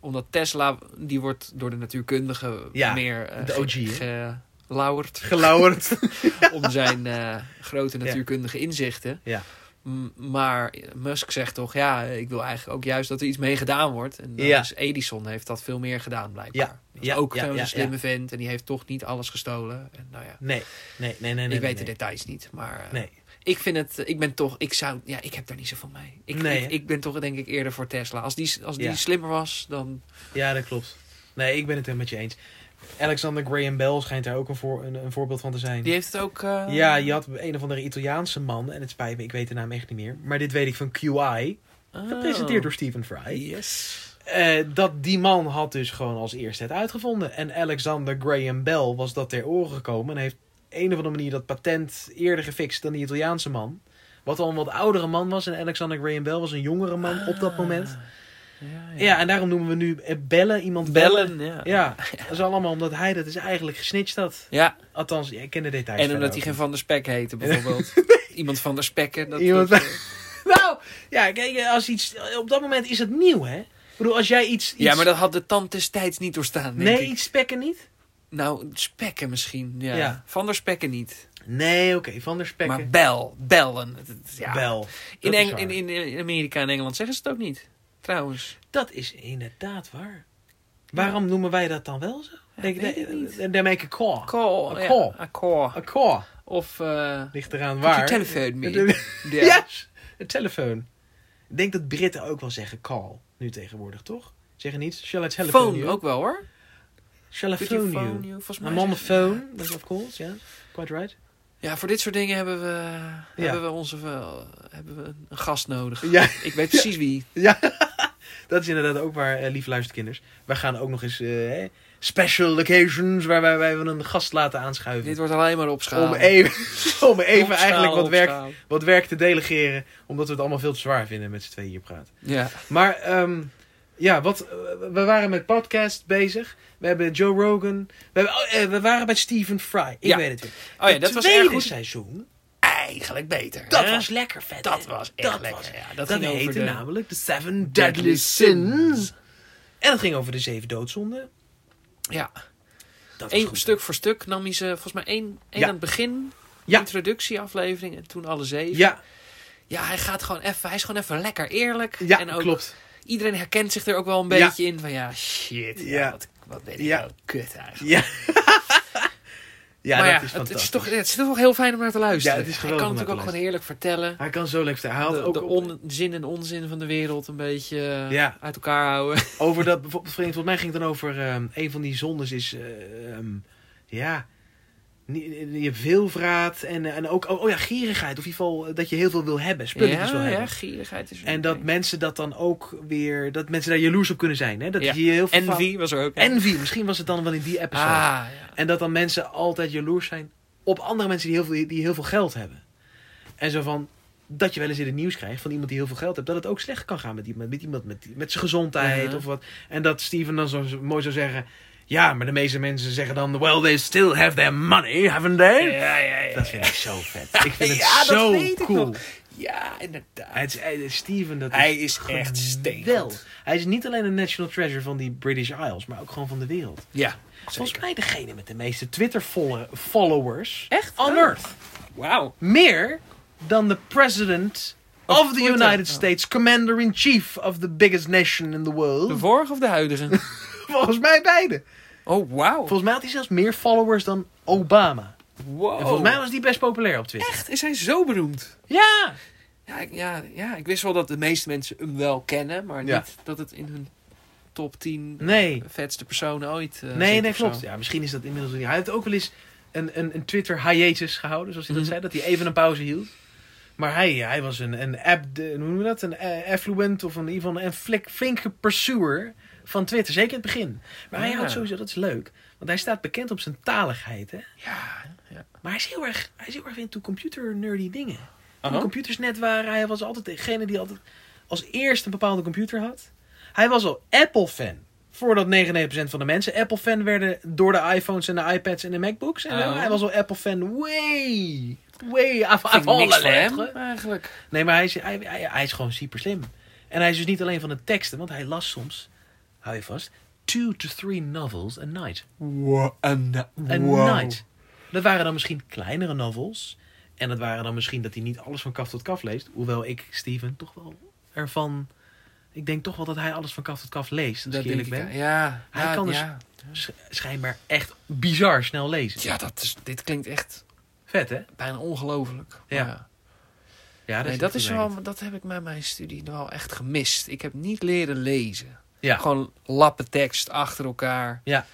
Omdat Tesla, die wordt door de natuurkundigen Ja, meer eh, de ge- OG, hè? gelauwerd Gelauwerd. om zijn eh, grote natuurkundige inzichten. Ja. M- maar Musk zegt toch, ja, ik wil eigenlijk ook juist dat er iets mee gedaan wordt. En dan Ja. is Edison heeft dat veel meer gedaan blijkbaar. Ja, Dat ja, is ook ja, zo'n ja, slimme vent en die heeft toch niet alles gestolen. En nou ja, Nee, nee, nee, nee. ik nee, weet nee. de details niet, maar... eh, Nee. Ik vind het, eh, ik ben toch, ik zou, ja, ik heb daar niet zoveel mee. Ik, Nee, hè? ik, ik ben toch denk ik eerder voor Tesla. Als die, als die Ja. slimmer was, dan... Ja, dat klopt. Nee, ik ben het helemaal met je eens. Alexander Graham Bell schijnt daar ook een, voor, een, een voorbeeld van te zijn. Die heeft het ook... eh, Ja, je had een of andere Italiaanse man, en het spijt me, ik weet de naam echt niet meer. Maar dit weet ik van QI, oh. gepresenteerd door Stephen Fry. Yes. Eh, dat die man had dus gewoon als eerste het uitgevonden. En Alexander Graham Bell was dat ter oren gekomen. En heeft een of andere manier dat patent eerder gefixt dan die Italiaanse man. Wat al een wat oudere man was. En Alexander Graham Bell was een jongere man op dat moment. Ja, Ah, ja. Ja, en daarom noemen we nu eh, bellen iemand bellen. Bellen, ja. Ja, dat is allemaal omdat hij dat is eigenlijk gesnitcht had. Ja, Althans, ja, ik ken de details. en omdat hij verder geen Van der Spek heette bijvoorbeeld. Iemand Van der Spekken. Dat, Iemand- dat, eh, ook. Nou, ja, kijk, eh, als iets, op dat moment is het nieuw, hè? Ik bedoel, als jij iets... iets ja, maar dat had de tand destijds niet doorstaan, denk Nee, ik. iets spekken niet? Nou, Spekken misschien, ja. Ja. Van der Spekken niet. Nee, oké, van der spekken. Maar bel, bellen. Het- het- Ja. Bel. In, Dat is Eng- waar. in, in, in Amerika en Engeland zeggen ze het ook niet, trouwens. Dat is inderdaad waar. Waarom noemen wij dat dan wel zo? Denk, weet ik niet. They make a call. Call. Een ja, call. een call. A call. Of eh Ligt eraan Could waar. you telephone me? Ja. ja. Yes, een telefoon. Ik denk dat Britten ook wel zeggen call nu tegenwoordig, toch? Zeggen niet, shall I telephone phone you? ook wel hoor. Shall I Could phone you? Volgens mij I'm on the zeggen- phone, that's of course, yeah. Quite right. Ja, voor dit soort dingen hebben we, hebben we, onze, eh, hebben we een gast nodig. Ja, Ik weet precies wie. ja. dat is inderdaad ook waar, eh, lieve luisterkinders. Wij gaan ook nog eens eh, hè, special occasions waar wij, wij een gast laten aanschuiven. Dit wordt alleen maar opschalen. om even, om even Opschalen, eigenlijk wat werk, opschalen. wat werk te delegeren. Omdat we het allemaal veel te zwaar vinden met z'n tweeën hier praten. Ja. Maar ehm, ja, wat, eh, we waren met podcast bezig. We hebben Joe Rogan. We, hebben, oh, eh, we waren bij Stephen Fry. Ik Ja. weet het weer. Oh ja, Het dat was tweede erg goed. seizoen. Eigenlijk beter. Dat hè? was lekker vet. dat hè? was echt dat lekker. was- ja, dat dat ging over heette de... namelijk The Seven Deadly Sins. En dat ging over de zeven doodzonden. Ja, Dat was Eén goed. stuk voor stuk nam hij ze volgens mij één, één Ja. aan het begin. Ja. Introductieaflevering en toen alle zeven. Ja, Ja, hij gaat gewoon even, hij is gewoon even lekker eerlijk. ja en ook klopt. iedereen herkent zich er ook wel een Ja. beetje in van ja, shit. Ja, Ja. Wat, wat ben ik Ja. nou kut eigenlijk. Ja, ja maar dat ja, is het- het, fantastisch. is toch, het is toch wel heel fijn om naar te luisteren. Ja, het is hij kan geweldig om natuurlijk ook naar gewoon te heerlijk vertellen. Hij kan zo lekker vertellen. Hij had De, ook de op- onzin en onzin van de wereld een beetje eh, Ja. uit elkaar houden. over dat bijvoorbeeld, vreemd, volgens mij ging het dan over ehm, een van die zondes is, eh, ehm, ja, ni- je veelvraat en, en ook, oh, oh ja, gierigheid. Of in ieder geval eh, dat je heel veel wil hebben, spulletjes wil ja, ja, hebben. gierigheid is er En een dat ding. mensen dat dan ook weer, dat mensen daar jaloers op kunnen zijn. Hè? Dat Ja. je heel veel Envy was er ook. Envy, misschien was het dan wel in die Ah, episode. ja. En dat dan mensen altijd jaloers zijn op andere mensen die heel veel, die heel veel geld hebben. En zo van dat je wel eens in het nieuws krijgt van iemand die heel veel geld heeft, dat het ook slecht kan gaan met iemand, met, iemand, met, met zijn gezondheid Ja. of wat. En dat Steven dan zo zo mooi zou zeggen: Ja, maar de meeste mensen zeggen dan: Well, they still have their money, haven't they? Ja, ja, ja. Dat vind ik zo vet. Ik vind het Ja, dat zo weet ik cool. nog. Ja, inderdaad. Het is, hij- Steven, dat Hij is is echt wel. stevig. Hij is niet alleen een national treasure van die British Isles, maar ook gewoon van de wereld. Ja. Volgens mij degene met de meeste Twitter-followers Echt? on Oh. earth. Wauw. Meer dan de president of, the Twitter. United Oh. States, commander-in-chief of the biggest nation in the world. De vorige of de huidige? Volgens mij beide. Oh, wauw. Volgens mij had hij zelfs meer followers dan Obama. Wow. En volgens mij was die best populair op Twitter. Oh. Echt? Is hij zo beroemd? Ja! Ja ik, ja, ja, ik wist wel dat de meeste mensen hem wel kennen, maar niet Ja. dat het in hun top 10 Nee. vetste personen ooit eh, Nee, zit nee, of zo. klopt. Ja, misschien is dat inmiddels niet. Hij heeft ook wel eens een, een, een Twitter hiatus gehouden, zoals hij dat Mhm. zei. Dat hij even een pauze hield. Maar hij, hij was een, een app, de- hoe noem je dat? Een eh, affluent of een, in ieder geval een flink, flinke pursuer van Twitter. Zeker in het begin. Maar hij Ja. houdt sowieso, dat is leuk. Want hij staat bekend op zijn taligheid. Hè? Ja, ja. Maar hij is heel erg, hij is heel erg into computer nerdy dingen. Toen Aha. computers net waren, hij was altijd degene die altijd als eerste een bepaalde computer had. Hij was al Apple-fan. Voordat 99% van de mensen Apple-fan werden door de iPhones en de iPads en de MacBooks. En zo. Oh. Hij was al Apple-fan way, way af, Vind af ik niks alle van hem, letteren. eigenlijk. Nee, maar hij is, hij, hij, hij is gewoon super slim. En hij is dus niet alleen van de teksten, want hij las soms, hou je vast, two to three novels a night. Wow. Een A night. Dat waren dan misschien kleinere novels. En dat waren dan misschien dat hij niet alles van kaf tot kaf leest. Hoewel ik Steven toch wel ervan... Ik denk toch wel dat hij alles van kaf tot kaf leest. Als Dat ik wil eerlijk ik ben. ja. Ja, Hij ja, kan dus- ja. Sch- schijnbaar echt bizar snel lezen. Ja, dat is, dit klinkt echt Vet, hè? bijna ongelooflijk. Maar Ja. ja. Ja, Nee, niet dat, is vervelend. wel, dat heb ik met mijn studie wel echt gemist. Ik heb niet leren lezen. Ja. Gewoon lappen tekst achter elkaar. Ja.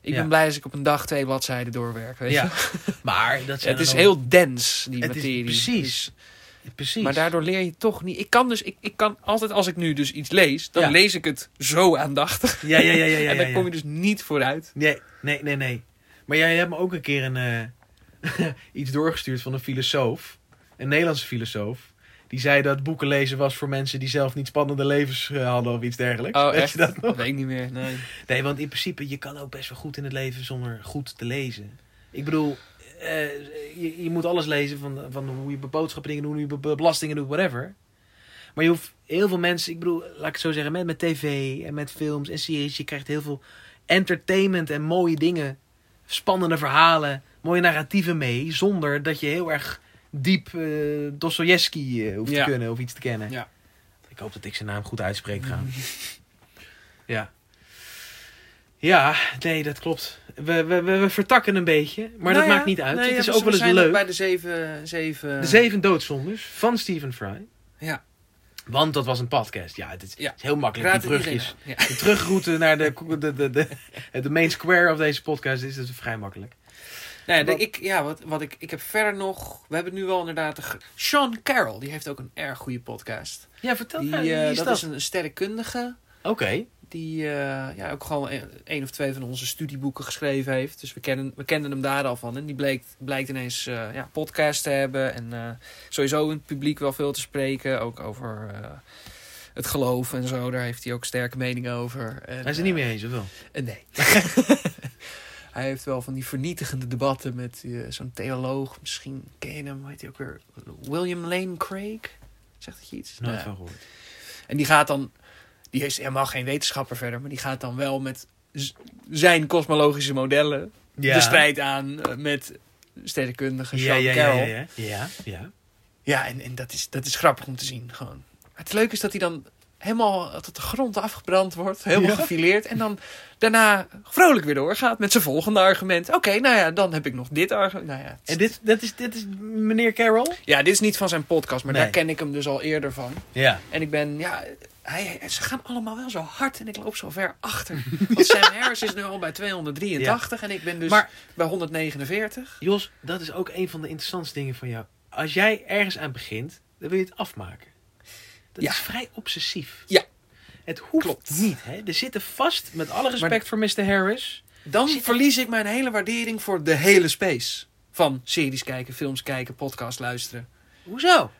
Ik Ja. ben blij als ik op een dag twee bladzijden doorwerk. Weet Ja. je? Maar dat zijn Het is dan heel dens, die Het is materie. precies. Dus- ook- Precies. maar daardoor leer je toch niet. Ik kan dus, ik, ik kan altijd als ik nu dus iets lees, dan Ja. lees ik het zo aandachtig. Ja, ja, ja, ja. ja, en dan ja, ja. kom je dus niet vooruit. Nee, nee, nee, nee. Maar jij hebt me ook een keer een, eh, iets doorgestuurd van een filosoof. Een Nederlandse filosoof. Die zei dat boeken lezen was voor mensen die zelf niet spannende levens eh, hadden of iets dergelijks. Oh, Weet je echt? dat nog? Dat weet ik niet meer. Nee. Nee, want in principe, je kan ook best wel goed in het leven zonder goed te lezen. Ik bedoel, eh, je, je moet alles lezen van, van hoe je boodschappen dingen doet, hoe je be- belastingen doet, whatever. Maar je hoeft heel veel mensen, ik bedoel, laat ik het zo zeggen, met, met tv en met films en series, je krijgt heel veel entertainment en mooie dingen, spannende verhalen, mooie narratieven mee, zonder dat je heel erg diep eh Dostoevsky eh, hoeft Ja. te kunnen of iets te kennen. Ja. Ik hoop dat ik zijn naam goed uitspreek gaan. Ja. Ja, nee, dat klopt. We, we, we, we vertakken een beetje, maar Nou dat maakt niet uit. het is ook wel eens leuk. bij de zeven. zeven De zeven doodzondes van Stephen Fry. Ja. Want dat was een podcast. Ja, het is, Ja. het is heel makkelijk, die brugjes. Ja. De terugroute naar de, de, de, de, de main square of deze podcast is dus vrij makkelijk. Nee, de- Wat- ik, ja, wat, wat ik, ik heb verder nog. We hebben nu wel inderdaad. Een ge- Sean Carroll, die heeft ook een erg goede podcast. Ja, vertel Die, maar, eh, wie is dat, dat? is een sterrenkundige. Oké. Die eh, ja, ook gewoon een, een of twee van onze studieboeken geschreven heeft. Dus we, kennen, we kenden hem daar al van. En die bleek, blijkt ineens eh ja, podcast te hebben. En eh, sowieso in het publiek wel veel te spreken. Ook over eh, het geloof en zo. Daar heeft hij ook sterke meningen over. En, Hij is er niet mee eens, of wel? eh, nee. hij heeft wel van die vernietigende debatten met eh, zo'n theoloog. Misschien ken je hem, hoe heet hij ook weer? William Lane Craig? Zegt dat je iets? Nooit Nou, van gehoord. En die gaat dan... Die is helemaal geen wetenschapper verder, maar die gaat dan wel met z- zijn kosmologische modellen Ja. de strijd aan eh, met sterrenkundige Ja, Sean ja, ja, Carroll. ja, ja. Ja, ja. Ja, en, en dat, is, dat is grappig om te zien. Gewoon. Maar het leuke is dat hij dan helemaal tot de grond afgebrand wordt. Helemaal Ja. gefileerd. En dan daarna vrolijk weer doorgaat met zijn volgende argument. Oké, nou ja, dan heb ik nog dit argument. Nou ja, het is- En dit, dat is, dit is meneer Carroll? ja, dit is niet van zijn podcast, maar Nee. daar ken ik hem dus al eerder van. Ja. En ik ben, ja, hij, ze gaan allemaal wel zo hard en ik loop zo ver achter. Want Sam Harris is nu al bij 283 en ik ben dus Maar- bij 149. Jos, dat is ook een van de interessantste dingen van jou. Als jij ergens aan begint, dan wil je het afmaken. Dat Ja. is vrij obsessief. Ja. Het hoeft Klopt. niet. Hè? Er zitten vast, met alle respect voor Mr. Harris. Dan Zit- verlies ik mijn hele waardering voor de hele space. van series kijken, films kijken, podcast luisteren. Hoezo?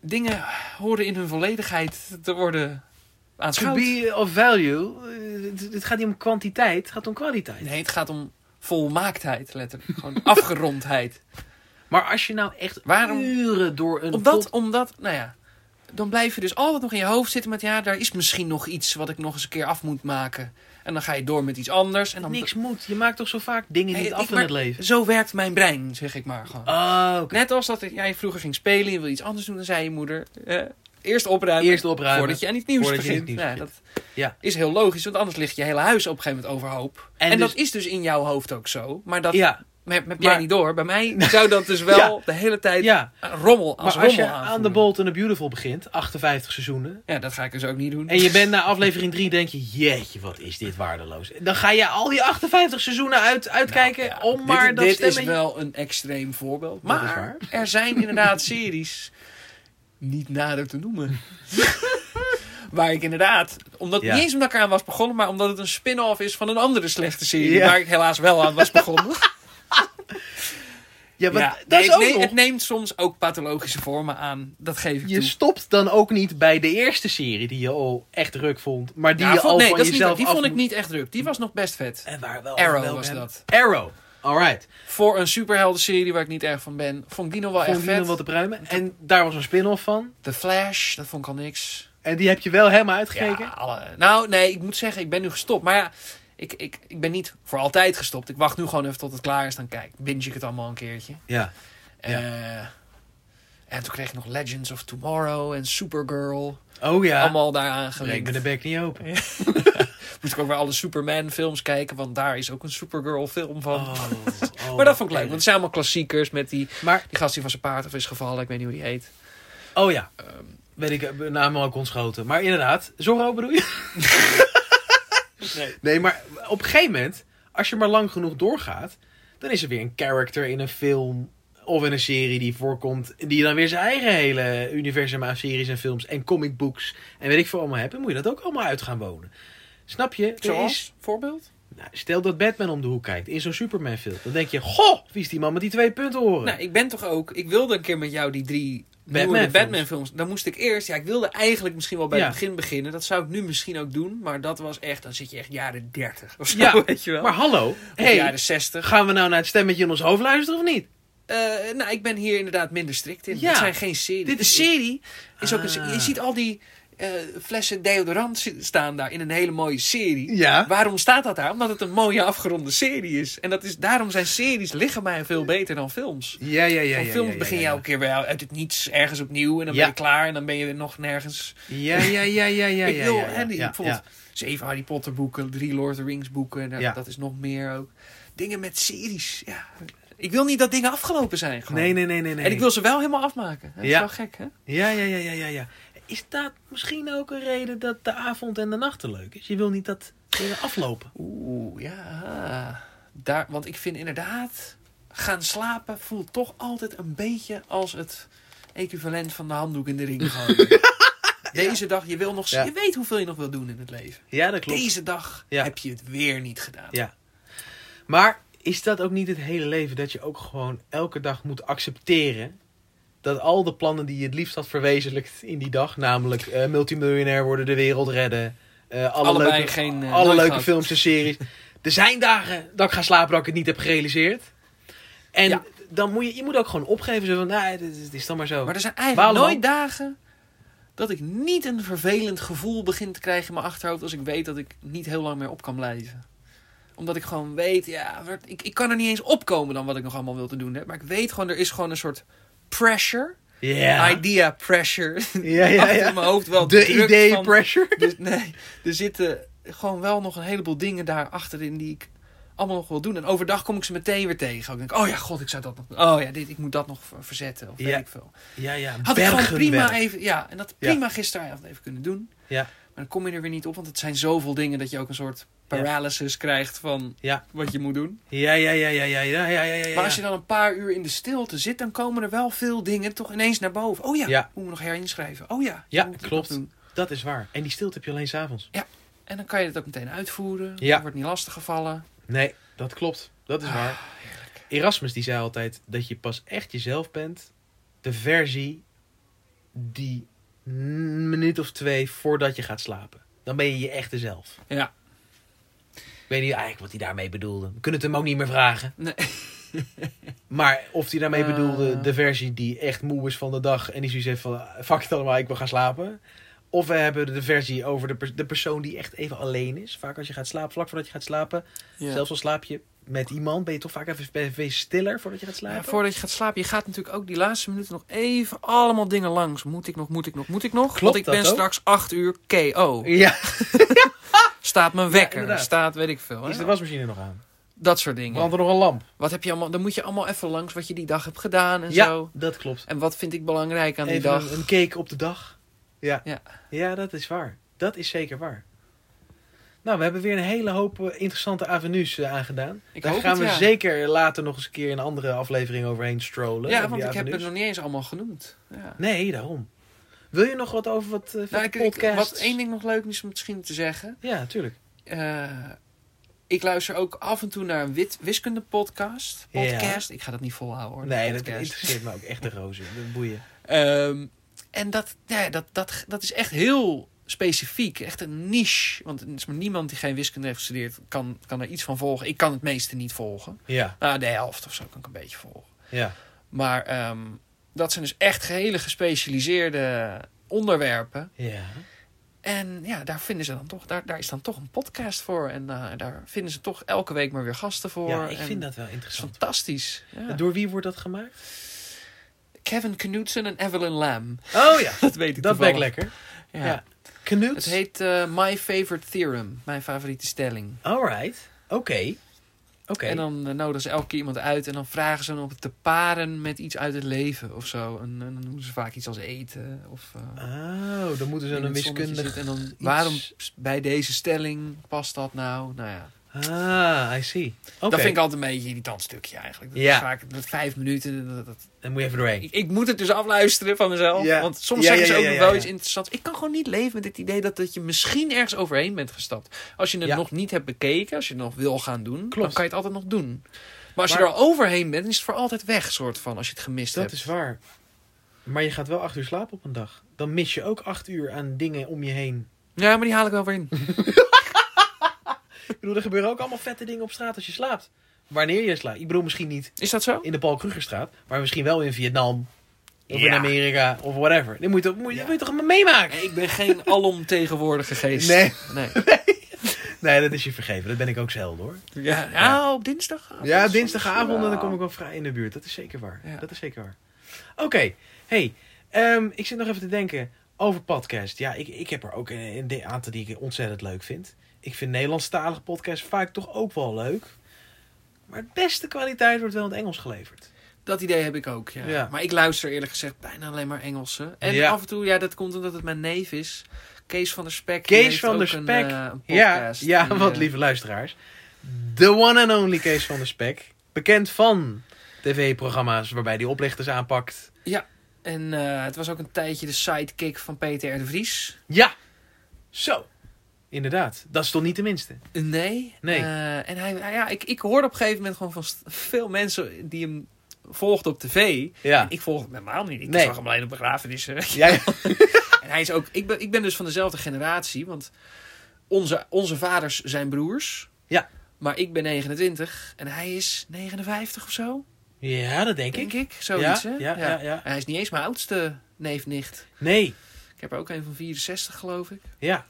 Dingen horen in hun volledigheid te worden To aanschouwd. be of value. eh, Het het gaat niet om kwantiteit, het gaat om kwaliteit. Nee, het gaat om volmaaktheid, letterlijk. Gewoon afgerondheid. Maar als je nou echt Waarom- uren door een Omdat, pod- omdat, nou ja, dan blijf je dus altijd nog in je hoofd zitten met... ja, daar is misschien nog iets wat ik nog eens een keer af moet maken. En dan ga je door met iets anders. En dan niks moet. Je maakt toch zo vaak dingen Hey, niet ik af in maar- het leven. Zo werkt mijn brein, zeg ik maar gewoon. Oh, oké. Net als dat jij vroeger ging spelen, je wil iets anders doen, dan zei je moeder... eh, eerst opruimen, Eerst opruimen. voordat je aan iets nieuws Voordat je begint. iets nieuws ja, dat begint. Ja. is heel logisch, want anders ligt je hele huis op een gegeven moment overhoop. En, En dus- dat is dus in jouw hoofd ook zo. Maar dat Ja, heb, heb jij Maar- niet door. Bij mij zou dat dus wel de hele tijd ja. een rommel als Maar als je rommel aan aanvoelen. The Bold and the Beautiful begint, 58 seizoenen. Ja, dat ga ik dus ook niet doen. En je bent na aflevering 3 denk je, jeetje, wat is dit waardeloos. Dan ga je al die 58 seizoenen uit, uitkijken Nou, ja, om maar dit, dat dit stemmetje... is wel een extreem voorbeeld. Dat is Maar waar. er zijn inderdaad series niet nader te noemen. waar ik inderdaad, omdat, Ja. niet eens omdat ik eraan was begonnen, maar omdat het een spin-off is van een andere slechte serie. Ja. Waar ik helaas wel aan was begonnen. Ja, want Ja. dat Nee, is ook nee, nog- Het neemt soms ook pathologische vormen aan. Dat geef ik Je toe. stopt dan ook niet bij de eerste serie die je al echt druk vond. Maar die Ja, je vond- al nee, van dat is niet- jezelf die af vond ik moet- niet echt druk. Die was nog best vet. En waar wel Arrow wel was ben- dat. Arrow, alright. Voor een superhelden-serie waar ik niet erg van ben, vond ik die nog wel Vond echt die nog vet. wat te pruimen. En daar was een spin-off van. The Flash, dat vond ik al niks. En die heb je wel helemaal uitgekeken. Ja, alle- nou, nee, ik moet zeggen, ik ben nu gestopt. Maar ja, ik, ik, ik ben niet voor altijd gestopt. Ik wacht nu gewoon even tot het klaar is. Dan kijk, binge ik het allemaal een keertje. Ja. Ja. Eh, en toen kreeg ik nog Legends of Tomorrow en Supergirl. Oh ja. Allemaal daaraan Breek me gelinkt. de bek niet open. Moest ik ook weer alle Superman films kijken. Want daar is ook een Supergirl film van. Oh, oh, maar dat vond ik leuk. Want het zijn allemaal klassiekers met die, Maar, die gast die van zijn paard af is gevallen. Ik weet niet hoe die heet. oh ja. Weet ik, eh, naam ook ontschoten. Maar inderdaad, Zorro bedoel je? Nee. Nee, maar op een gegeven moment, als je maar lang genoeg doorgaat, dan is er weer een character in een film of in een serie die voorkomt, die dan weer zijn eigen hele universum aan series en films en comic books en weet ik veel allemaal hebben, moet je dat ook allemaal uit gaan wonen. Snap je? Er is- Zoals? Voorbeeld? nou, stel dat Batman om de hoek kijkt in zo'n Superman film, dan denk je, goh, wie is die man met die twee punten horen? Nou, ik ben toch ook. Ik wilde een keer met jou die drie Batman Batman-films. Batman films. Dan moest ik eerst. Ja, ik wilde eigenlijk misschien wel bij Ja. het begin beginnen. Dat zou ik nu misschien ook doen. Maar dat was echt. Dan zit je echt jaren 30 of zo. Ja, weet je wel. Maar hallo, Of dus- hey, jaren 60. gaan we nou naar het stemmetje in ons hoofd luisteren of niet? Eh, nou, ik ben hier inderdaad minder strikt in. Ja. Het zijn geen series. Dit de is- serie is ook een. Ah. Je ziet al die eh, flessen deodorant zi- staan daar in een hele mooie serie. Ja. Waarom staat dat daar? Omdat het een mooie afgeronde serie is. En dat is, daarom zijn series liggen mij veel beter dan films. Ja, ja, ja. Van ja, films ja, ja, begin ja. je elke keer wel uit het niets ergens opnieuw. En dan Ja. ben je klaar en dan ben je weer nog nergens. Ja, ja, ja, ja, ja. ik ja, wil ja, hè, die, ja, bijvoorbeeld zeven Harry Potter boeken, drie Lord of the Rings boeken. nou, Ja. Dat is nog meer ook. Dingen met series. Ja. Ik wil niet dat dingen afgelopen zijn. Gewoon. Nee, nee, nee, nee, nee. En ik wil ze wel helemaal afmaken. hè. Dat is Ja. wel gek, hè? Ja, ja, ja, ja, ja, ja. Is dat misschien ook een reden dat de avond en de nacht te leuk is? Je wil niet dat dingen aflopen. Oeh, ja. Daar, want ik vind inderdaad, gaan slapen voelt toch altijd een beetje als het equivalent van de handdoek in de ring gooien. Deze dag, je, wil nog, Ja. je weet hoeveel je nog wil doen in het leven. Ja, dat Deze dag Ja. heb je het weer niet gedaan. Ja. Maar is dat ook niet het hele leven dat je ook gewoon elke dag moet accepteren dat al de plannen die je het liefst had verwezenlijkt in die dag, namelijk eh, multimiljonair worden, de wereld redden, eh, alle Allebei leuke, geen, eh, alle nooit leuke gehad. films en series. er zijn dagen dat ik ga slapen dat ik het niet heb gerealiseerd. En Ja. dan moet je, je moet ook gewoon opgeven. Zo van, nou, het is- het is dan maar zo. Maar er zijn eigenlijk Waarom? nooit dagen dat ik niet een vervelend gevoel begin te krijgen in mijn achterhoofd als ik weet dat ik niet heel lang meer op kan blijven. Omdat ik gewoon weet, ja, wat- ik, ik kan er niet eens opkomen dan wat ik nog allemaal wil te doen heb. Maar ik weet gewoon, er is gewoon een soort pressure, Ja. idea pressure, ja, ja, achter ja. in mijn hoofd wel De druk idee van- pressure. Dus nee, er zitten gewoon wel nog een heleboel dingen daar achterin die ik allemaal nog wil doen. En overdag kom ik ze meteen weer tegen. Ik denk, oh ja, god, ik zou dat nog... Oh ja, dit, ik moet dat nog ver- verzetten of weet Ja. ik veel. Ja, ja. Had ik gewoon bergenwerk. prima even, ja, en dat Ja. prima gisteravond even kunnen doen. Ja. Maar dan kom je er weer niet op, want het zijn zoveel dingen dat je ook een soort paralysis krijgt van Ja. wat je moet doen. Ja, ja, ja, ja, ja, ja, ja, ja, ja. Maar als je dan een paar uur in de stilte zit, dan komen er wel veel dingen toch ineens naar boven. Oh ja, Ja. hoe moet nog herinschrijven. Oh ja, Ja, hoe moet ik dat klopt. doen? Dat is waar. En die stilte heb je alleen s'avonds. En dan kan je het ook meteen uitvoeren. Ja. Je wordt niet lastiggevallen. Ah, Nee, dat klopt. Dat is waar. Erasmus die zei altijd dat je pas echt jezelf bent. De versie die een minuut of twee voordat je gaat slapen. Dan ben je je echte zelf. Ja. Ik weet niet eigenlijk wat hij daarmee bedoelde. We kunnen het hem ook niet meer vragen. Nee. Maar of hij daarmee Eh. bedoelde de versie die echt moe is van de dag. En die zoiets heeft van, eh, fuck het allemaal, ik wil gaan slapen. Of we hebben de versie over de, pers- de persoon die echt even alleen is. Vaak als je gaat slapen, vlak voordat je gaat slapen. Zelfs al slaap je met iemand, ben je toch vaak even, ben je even stiller voordat je gaat slapen. Ja, voordat je gaat slapen, je gaat natuurlijk ook die laatste minuten nog even allemaal dingen langs. Moet ik nog, moet ik nog, moet ik nog? Want ik dat ben ook? straks 8 uur KO. Ja, Staat mijn wekker, inderdaad. staat weet ik veel. is de Hè? wasmachine nog aan? Dat soort dingen. Brandt er nog een lamp? Wat heb je allemaal, dan moet je allemaal even langs wat je die dag hebt gedaan en ja, zo. dat klopt. En wat vind ik belangrijk aan die Even dag? een, een cake op de dag. Ja. Ja. ja, dat is waar. Dat is zeker waar. Nou, we hebben weer een hele hoop eh, interessante avenues eh, aangedaan. Ik Daar hoop gaan het, we ja. zeker later nog eens een keer in een andere aflevering overheen strollen. Ja, over want die ik heb het avenues. nog niet eens allemaal genoemd. Ja. Nee, daarom. Wil je nog wat over wat eh Nou, vette ik, ik- podcasts? wat één ding nog leuk is om misschien te zeggen. Ja, tuurlijk. Eh, ik luister ook af en toe naar een wit, wiskundepodcast. Ja. Podcast. Ik ga dat niet volhouden hoor. Nee, dat podcast. interesseert me ook echt de rozen. De boeien. Ehm, en dat, ja, dat, dat, dat is echt heel specifiek. Echt een niche. Want er is maar niemand die geen wiskunde heeft gestudeerd kan, kan er iets van volgen. Ik kan het meeste niet volgen. Ja, Nou, de helft of zo kan ik een beetje volgen. ja. Maar ehm, dat zijn dus echt hele gespecialiseerde onderwerpen. Ja. En ja, daar, vinden ze dan toch, daar, daar is dan toch een podcast voor. En eh, daar vinden ze toch elke week maar weer gasten voor. ja, ik En vind dat wel is interessant. fantastisch. Ja. Door wie wordt dat gemaakt? Kevin Knudsen en Evelyn Lam. Oh ja, Dat weet ik dat werkt toevallig. lekker. Ja. Ja. Knut. Het heet eh, My Favorite Theorem. Mijn favoriete stelling. Alright. Oké. Oké. En dan eh, nodigen ze elke keer iemand uit. En dan vragen ze hem op het te paren met iets uit het leven of zo. En, en dan doen ze vaak iets als eten. Of, eh, Oh, dan moeten ze in een het zonnetje wiskundig... zitten. En dan, waarom bij deze stelling past dat nou? Nou ja. Ah, I see. Oké. Dat vind ik altijd een beetje een irritant stukje eigenlijk. Dat Ja. is vaak dat vijf minuten. dat- dat- Dan moet je even doorheen. ik, ik moet het dus afluisteren van mezelf. Ja. Want soms Ja, zeggen ja, ze ook ja, nog ja, wel ja. iets interessants. Ik kan gewoon niet leven met het idee dat, dat je misschien ergens overheen bent gestapt. Als je het Ja. nog niet hebt bekeken, als je het nog wil gaan doen, dan Klopt. kan je het altijd nog doen. Maar als Maar- je er al overheen bent, dan is het voor altijd weg, soort van, als je het gemist Dat hebt. is waar. Maar je gaat wel acht uur slapen op een dag. Dan mis je ook acht uur aan dingen om je heen. Ja, maar die haal ik wel weer in. Ik bedoel, er gebeuren ook allemaal vette dingen op straat als je slaapt. Wanneer je slaapt. Ik bedoel, misschien niet Is dat zo? in de Paul Krugerstraat. Maar misschien wel in Vietnam. Of in Ja. Amerika. Of whatever. Dit moet je toch, moet, je- Ja. moet je toch allemaal meemaken? Nee, ik ben geen alomtegenwoordige geest. Nee. nee. Nee, dat is je vergeven. Dat ben ik ook zelden hoor. Ja, nou, op dinsdag. Ja, dinsdagavond en dan kom ik wel vrij in de buurt. Dat is zeker waar. Ja. Dat is zeker waar. Oké, hey, ehm, ik zit nog even te denken over podcast. Ja, ik, ik heb er ook een, een de- aantal die ik ontzettend leuk vind. Ik vind Nederlandstalige podcasts vaak toch ook wel leuk. Maar het beste kwaliteit wordt wel in het Engels geleverd. Dat idee heb ik ook, ja. Ja. Maar ik luister eerlijk gezegd bijna alleen maar Engelse. En Ja. af en toe, ja, dat komt omdat het mijn neef is. Kees van der Spek. die Kees heeft van der ook een, Spek. eh, een Ja, podcast ja die, wat eh, lieve luisteraars. The one and only Kees van der Spek. Bekend van tv-programma's waarbij hij oplichters aanpakt. En eh, het was ook een tijdje de sidekick van Peter R. de Vries. Ja, zo. Inderdaad, dat is toch niet de minste. Nee. Nee. Eh, en hij, ja, ik, ik hoorde op een gegeven moment gewoon van st- veel mensen die hem volgden op tv. Ja. Ik volg hem helemaal niet. Ik Nee. zag hem alleen op begrafenissen. Ja, En hij is ook, ik, ben, ik ben dus van dezelfde generatie, want onze, onze vaders zijn broers. Ja. Maar ik ben 29 en hij is 59 of zo, ja dat denk denk ik. ik. Zoiets, Ja, hè? ja, ja, ja. En hij is niet eens mijn oudste neef-nicht. Nee, Ik heb er ook een van 64, geloof ik. ja.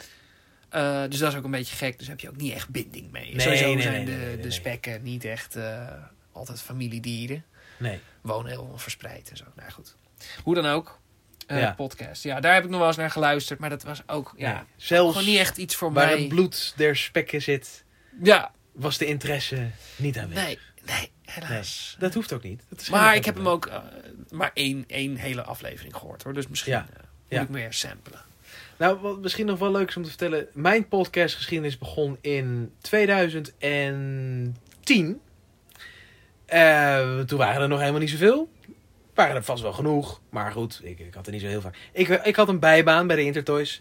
Eh, dus dat is ook een beetje gek. Dus heb je ook niet echt binding mee. Nee, Sowieso nee, zijn nee, de, nee, nee, de nee. spekken niet echt eh, altijd familiedieren. Nee. Wonen heel verspreid en zo. Nou goed. Hoe dan ook. eh, Ja. Podcast. Ja, daar heb ik nog wel eens naar geluisterd. Maar dat was ook ja, nee. Zelfs gewoon niet echt iets voor waar mij. het bloed der spekken zit, Ja, was de interesse niet aanwezig. Nee, nee, helaas. Dat hoeft ook niet. Dat is Maar geen ik heb hem probleem. ook eh, maar één, één hele aflevering gehoord hoor. Dus misschien Ja, eh, moet ja. ik meer samplen. Nou, wat misschien nog wel leuk is om te vertellen. Mijn podcastgeschiedenis begon in 2010. Eh, toen waren er nog helemaal niet zoveel. Waren er vast wel genoeg. Maar goed, ik, ik had er niet zo heel vaak. Ik, ik had een bijbaan bij de Intertoys.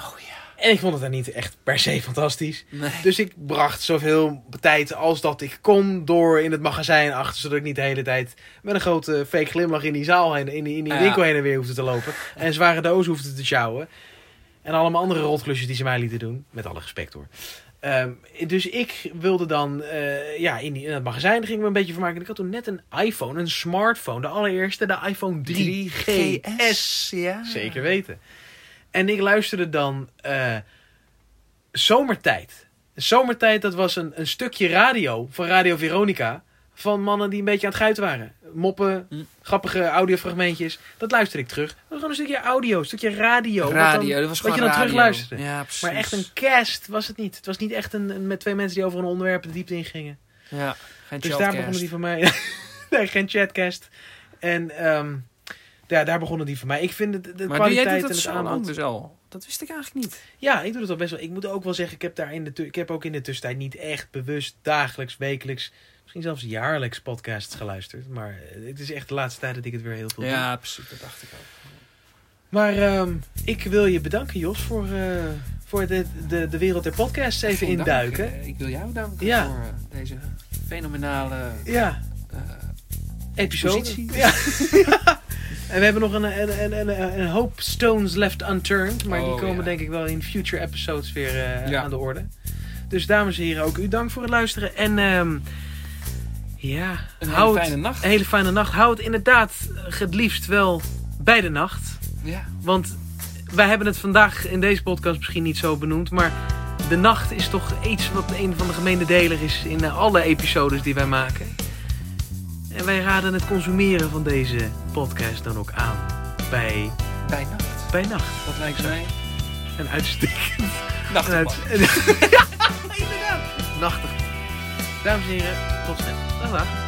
Oh ja. En ik vond het dan niet echt per se fantastisch. Nee. Dus ik bracht zoveel tijd als dat ik kon door in het magazijn achter. Zodat ik niet de hele tijd met een grote fake glimlach in die zaal heen, in die, in die Ja. winkel heen en weer hoefde te lopen. En zware dozen hoefde te sjouwen. En allemaal andere rotklusjes die ze mij lieten doen. Met alle respect hoor. Ehm, dus ik wilde dan eh, ja, in, die, in het magazijn ging ik me een beetje vermaken. En Ik had toen net een iPhone, een smartphone. De allereerste, de iPhone 3GS. ja. Zeker weten. En ik luisterde dan eh, Zomertijd. Zomertijd, dat was een, een stukje radio van Radio Veronica. Van mannen die een beetje aan het guiten waren. Moppen, Hm. grappige audiofragmentjes. Dat luisterde ik terug. Dat was gewoon een stukje audio, een stukje radio. wat dan- Radio, dat was wat gewoon je dan radio. terugluisterde. Ja, precies. maar echt een cast was het niet. Het was niet echt een, een- met twee mensen die over een onderwerp de diepte ingingen. Ja, geen Dus daar chatcast. begonnen die van mij. nee, geen chatcast. En ehm, ja, daar begonnen die van mij. Ik vind het, de Maar doe kwaliteit jij doet dat en het zo aanbod. lang dus al? Dat wist ik eigenlijk niet. Ja, ik doe dat al best wel. Ik moet ook wel zeggen, ik heb, daar in de tu- ik heb ook in de tussentijd niet echt bewust dagelijks, wekelijks, misschien zelfs jaarlijks podcasts geluisterd. Maar eh, het is echt de laatste tijd dat ik het weer heel veel doe. Ja, precies. Dat dacht ik ook. Maar ehm, ik wil je bedanken, Jos, voor, eh, voor de, de, de wereld der podcasts even Geen dank. induiken. Eh, Ik wil jou danken Ja. voor eh, deze fenomenale... Ja, eh, episode. Positie. Ja. en we hebben nog een, een, een, een, een hoop stones left unturned. Maar die Oh, komen ja. denk ik wel in future episodes weer eh, Ja. aan de orde. Dus dames en heren, ook u dank voor het luisteren. En ehm, ja, een hou hele het- fijne nacht. een hele fijne nacht. Hou het inderdaad het liefst wel bij de nacht. Ja. Want wij hebben het vandaag in deze podcast misschien niet zo benoemd. Maar de nacht is toch iets wat een van de gemene deler is in eh, alle episodes die wij maken. En wij raden het consumeren van deze podcast dan ook aan. Bij, Bij nacht. bij nacht. Dat lijkt mij... Een uitstekend. Nacht. Een uit, ja, inderdaad. Nachtig. Dames en heren, tot snel. Dag, dag.